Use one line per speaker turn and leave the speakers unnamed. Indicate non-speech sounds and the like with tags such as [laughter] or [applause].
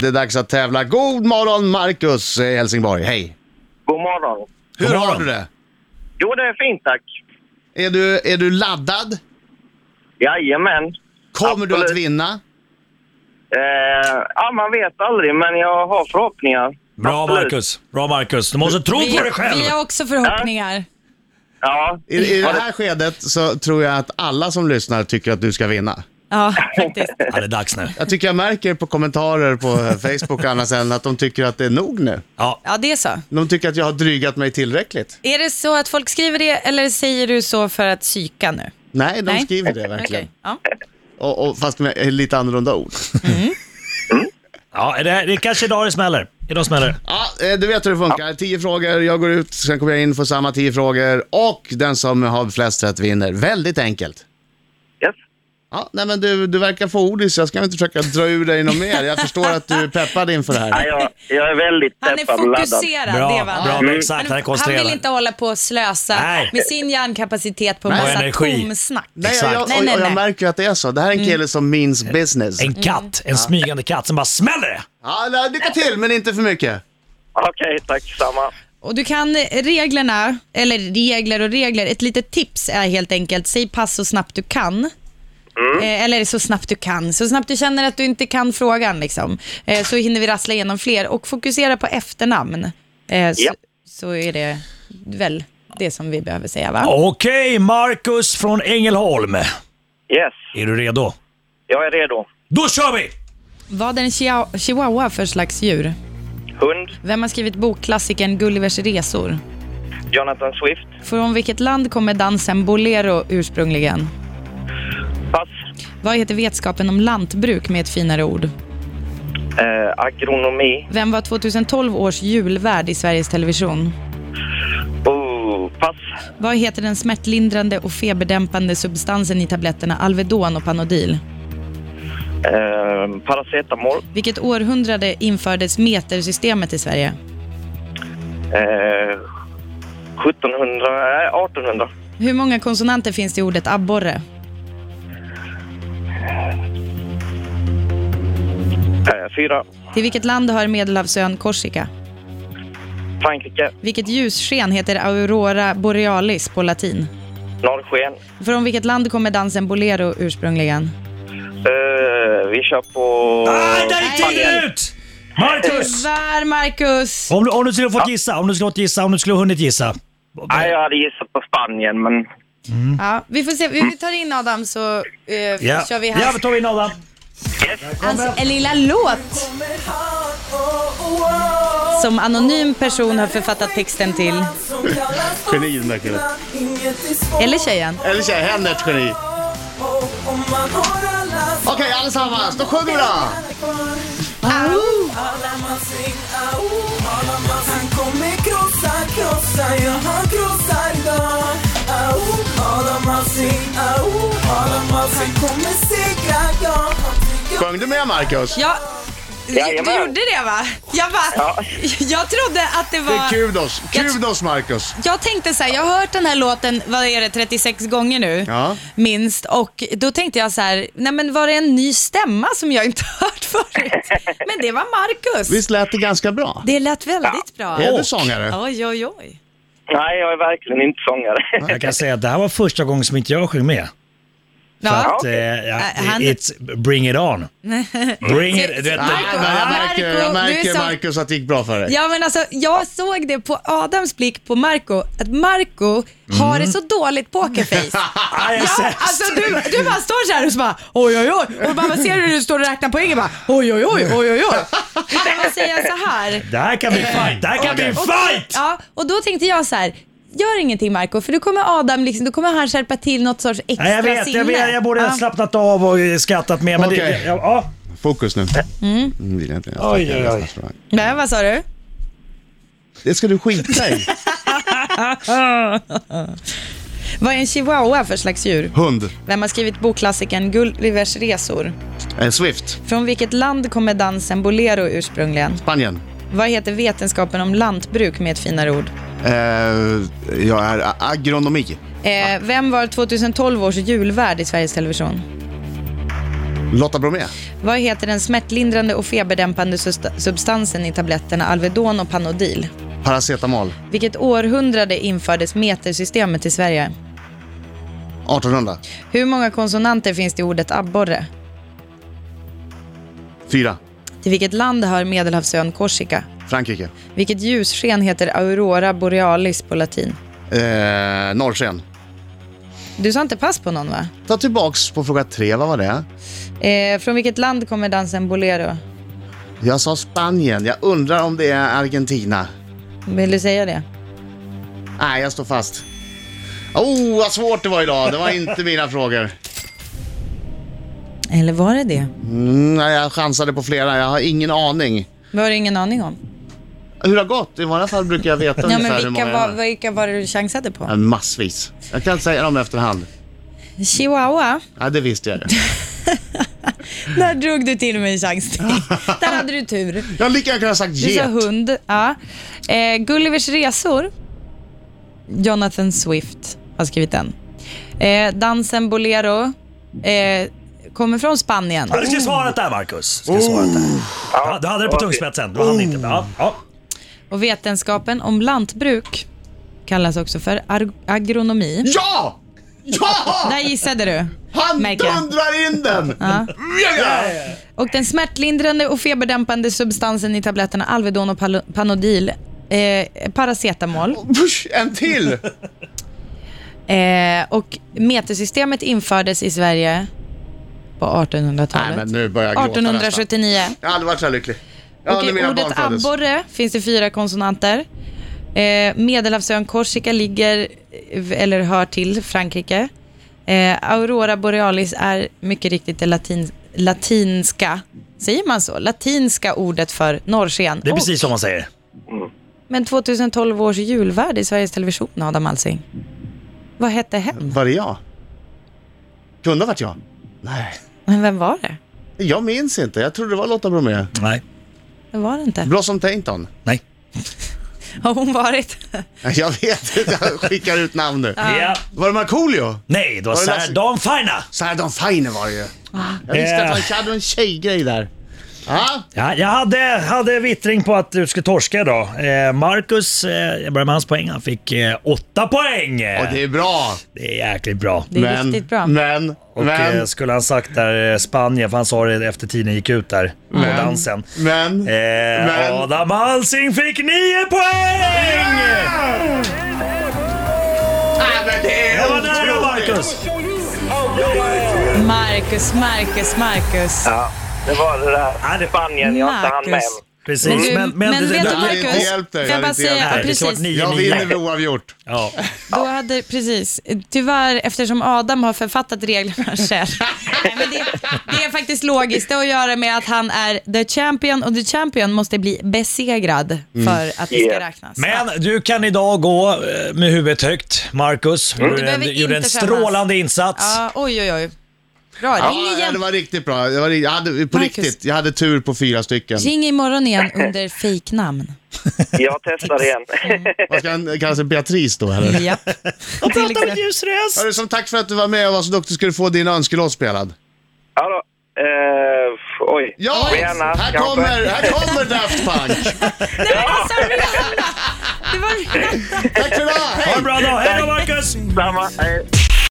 Det är dags att tävla. God morgon Marcus eh, Helsingborg, hej!
God morgon.
Hur
God
har
morgon.
du det?
Jo, det är fint tack.
Är du, är du laddad?
Jajamän.
Kommer du att
Absolut.
vinna?
Eh, ja, man vet aldrig, men jag har förhoppningar.
Bra
Absolut.
Marcus, bra Marcus. Du måste tro på dig själv.
vi har också förhoppningar.
Ja.
I, I det
Ja, det-
här skedet så tror jag att alla som lyssnar tycker att du ska vinna.
Ja,
[laughs]
faktiskt.
Ja, det är dags nu.
Jag tycker jag märker på kommentarer på eh, Facebook och annat sen att de tycker att det är nog nu.
Ja.
Ja, det är så.
De tycker att jag har drygat mig tillräckligt.
Är det så att folk skriver det eller säger du så för att psyka nu?
Nej, de
Nej.
[laughs]
skriver det verkligen.
Okej, ja.
Och, och, fast med eh, lite annorlunda ord.
Ja, det, det är kanske idag det smäller. Idag smäller det.
Ja, eh, du vet hur det funkar. Tio frågor, jag går ut, sen kommer jag in för samma tio frågor och den som har flest rätt vinner. Väldigt enkelt.
Yes.
Ja, nej men du, du verkar få ord i så jag ska inte försöka dra ur dig något mer. Jag förstår att du är peppad inför det
Ja,
här.
jag, jag är väldigt
Han är
peppad och laddad.
fokuserad, det
Bra,
var
bra,
han.
exakt. Han är
Han
koncentrerad.
vill inte hålla på och slösa
Nej.
med sin hjärnkapacitet på en
Nej.
Och
massa
energi.
tomsnack.
Nej, jag,
Exakt.
jag, och,
Nej,
och
nej,
jag
nej. Mm.
märker att det är så. Det här är en kille som means business.
En katt, en smygande katt som bara smäller det.
Ja, nej, lycka till, men inte för mycket.
Okej, tack samma.
Och du kan eh, reglerna, eller regler och regler, ett litet tips är helt enkelt, säg pass så snabbt du kan. Eh, Eller så snabbt du kan, så snabbt du känner att du inte kan frågan liksom. Eh, Så hinner vi rassla igenom fler och fokusera på efternamn. Eh, Så,
Ja.
så är det väl det som vi behöver säga va?
Okej, Marcus från Ängelholm. Är
Yes,
du redo?
jag är redo.
Då kör vi!
Vad är en chihuahua- chihuahua för slags djur?
Hund,
Vem har skrivit bokklassikern Gullivers resor?
Jonathan Swift.
Från vilket land kommer dansen bolero ursprungligen?
Pass.
Vad heter vetskapen om lantbruk med ett finare ord?
Eh, agronomi.
Vem var 2012 års julvärd i Sveriges Television?
Oh, pass.
Vad heter den smärtlindrande och feberdämpande substansen i tabletterna Alvedon och Panodil?
Eh, paracetamol.
Vilket århundrade infördes metersystemet i Sverige?
Eh, 1700, eh, 1800.
Hur många konsonanter finns det i ordet abborre?
Eh, fyra.
Till vilket land hör Medelhavsön Korsika?
Frankrike.
Vilket ljussken heter Aurora borealis på latin?
Norrsken.
Från vilket land kommer dansen bolero ursprungligen?
Eh, vi kör på...
Nej, där gick tiden
Spanien.
ut! Marcus!
Tyvärr, Marcus!
Om du, om du skulle fått gissa, om du skulle fått gissa, om du skulle hunnit gissa.
Nej, jag hade gissat på Spanien, men...
Ja, vi får se. Vi vi tar in Adam så eh,
Mm. Ja,
kör vi
ja
hans,
vi tar in Adam.
hans en lilla låt som anonym person har författat texten till.
Geni, den där killen.
Eller tjejen.
Eller tjej, henne ett geni. Okej, allesammans, då sjunger vi då!
Han kommer krossa, krossa, ja han krossar idag Au, Adam Alsing, au, Adam Alsing kommer segra, ja han tycker
Sjöng du med Marcus?
Ja, du
Jajamän.
gjorde det va? Jag, bara,
Ja.
jag trodde att
Det
det
är
var...
kudos, kudos Marcus.
Jag tänkte så här, jag har hört den här låten, vad är det, 36 gånger nu?
Ja.
Minst. Och då tänkte jag så här, nej men var det en ny stämma som jag inte [laughs] hört förut? Men det var Marcus.
Visst lät det ganska bra?
Det lät väldigt bra.
Är du sångare?
Oj, oj, oj.
Nej, jag är verkligen inte sångare.
Jag kan säga att det här var första gången som inte jag sjöng med. För
Ja.
att, eh, ja,
Äh, han- Typ.
it's bring it
[laughs]
on. Bring it,
Så-
du vet,
så-
Nej, men jag märker,
Marco, du är
jag märker
sång-
Marcus att det gick bra för dig.
ja, men alltså, jag såg det på Adams blick på Marco att Marco har
Mm.
ett så dåligt
[laughs]
pokerface.
jag är
Ja,
sämst.
alltså du, du bara står så här och så bara oj oj oj och bara, man ser hur du står och räknar poäng och bara oj oj oj oj oj
[laughs]
oj. Utan man säger så här.
Det här kan bli fight, det här kan bli fight!
Ja, och då tänkte jag så här, gör ingenting Marco för då kommer Adam liksom, då kommer han skärpa till något sorts extra
Nej, jag vet,
sinne.
jag vet, jag borde ha
Ja.
slappnat av och eh, skrattat mer. Men det,
Okej.
ja, ja,
Fokus nu. Mm. vill jag inte ens
Oj,
snacka,
oj,
jag
oj.
snart.
Nej, vad sa du?
Det ska du skita
[laughs]
i.
Vad är en chihuahua för slags djur?
Hund.
Vem har skrivit bokklassikern Gullivers resor?
Eh, Swift.
Från vilket land kommer dansen bolero ursprungligen?
Spanien.
Vad heter vetenskapen om lantbruk med ett finare ord?
Eh, jag är a- agronomi.
Eh, vem var 2012 års julvärd i Sveriges Television?
Lotta Bromé.
Vad heter den smärtlindrande och feberdämpande sust- substansen i tabletterna Alvedon och Panodil?
Paracetamol.
Vilket århundrade infördes metersystemet i Sverige?
1800.
Hur många konsonanter finns det i ordet abborre?
4.
Till vilket land hör Medelhavsön Korsika?
Frankrike.
Vilket ljussken heter aurora borealis på latin?
Eh, Norrsken.
Du sa inte pass på någon va?
Ta tillbaks på fråga tre, vad var det?
Eh, från vilket land kommer dansen bolero?
Jag sa Spanien. Jag undrar om det är Argentina.
Vill du säga det?
Nej, jag står fast. Oh, vad svårt det var idag. Det var inte mina frågor.
Eller var det det?
Mm, nej, jag chansade på flera. Jag har ingen aning.
Det har du ingen aning om.
Hur det har gått? I vanliga fall brukar jag veta
Ja,
ungefär
men
hur
vilka
många jag
var,
har.
vilka var det du chansade på?
Ja, Massvis. Jag kan inte säga dem i efterhand.
Chihuahua.
Ja, det visste jag.
Där drog du till med en
[laughs]
chans till. Där hade du tur.
Jag hade lika gärna kunnat sagt
Du sa
get.
hund. Ja. Eh, Gullivers resor. Jonathan Swift har skrivit den. Eh, dansen Bolero eh, kommer från Spanien.
Ja, du skulle svarat där Marcus. Skulle svarat där. Ja, du hade det på tungspetsen. Du hann inte. Ja, ja.
Och vetenskapen om lantbruk kallas också för ar- agronomi.
Ja! Ja!
Där gissade du.
Han
Märker jag.
dundrar in den!
Ja.
Ja, ja.
Och den smärtlindrande och feberdämpande substansen i tabletterna Alvedon och Palo- Panodil, eh, paracetamol
Push, en
[laughs]
till!
eh, och metersystemet infördes i Sverige på
Nej,
1800-talet.
men nu börjar jag gråta nästan.
1879.
Jag har aldrig varit så här lycklig. Ja,
och i
när mina
ordet
barn föddes.
abborre finns det fyra konsonanter. Eh, Medelhavsön Korsika ligger, eh, eller hör till, Frankrike. Eh, Aurora borealis är mycket riktigt det latin, latinska, säger man så? Latinska ordet för norrsken.
Det är
Och-
precis som man säger.
Men 2012 års julvärd i Sveriges Television, Adam Alsing. Vad hette hen?
Var det jag? Kunde ha varit jag. Nej,
Men vem var det?
jag minns inte. Jag trodde det var Lotta Bromé.
Nej.
Det var det inte.
Blossom Tainton.
Nej.
Har hon varit?
Jag vet inte, jag skickar ut namn nu.
Ja.
Var det Markoolio?
Nej, det var
Var det
Sarah
Lasse-
Dawn Fina.
Sarah Dawn Finer var det ju. Jag visste
Eh.
att han hade en tjejgrej där. Ja,
Ja, jag hade, hade vittring på att du skulle torska idag. Eh, Marcus, eh, jag börjar med hans poäng, han fick eh, åtta poäng.
och det är bra.
Det är jäkligt bra.
Det är riktigt bra.
Men,
Och eh,
men,
skulle han sagt där eh, Spanien, för han sa det efter tiden gick ut där, på dansen.
men,
Eh,
men.
Adam Alsing fick nio poäng!
Ah, men det
Det
är
var nära
otroligt.
Marcus!
Marcus, Marcus, Marcus.
Ja, det var det där Spanien jag inte hann med.
Marcus. Men,
Precis,
du,
men...
men, vet du
hade
Marcus,
inte hjälpt dig,
får
hade
jag bara
inte hjälpt
säga,
dig.
Nej, det ska
precis,
varit nio,
Jag vinner med
nio.
oavgjort.
Ja.
då hade, precis, tyvärr eftersom Adam har
[laughs]
författat reglerna själv. Nej, men det, det är faktiskt logiskt, det har att göra med att han är the champion och the champion måste bli besegrad
Mm.
för att det ska
Yeah.
räknas.
Men du kan idag gå eh, med huvudet högt, Marcus. Du gjorde en,
Mm. behöver
gjorde en
inte
strålande insats.
Ja, oj, oj, oj. Bra, ring
Ja, det
igen.
var riktigt bra. Det var, ri- jag hade, på
Marcus.
riktigt, jag hade tur på fyra stycken.
Ring imorgon igen under fejknamn.
Jag testar igen.
Vad ska han kalla sig? Beatrice då eller?
Ja. Till exempel.
ljus röst.
Hörru, som tack för att du var med och var så duktig ska du få din önskelåt spelad.
ja då. Eh, f- oj.
Ja,
Får gärna,
här
kanske.
kommer, här kommer Daft Punk.
Det var...
Tack för idag, hej!
Ha en bra dag. Hej då, Marcus!
Samma. Hej.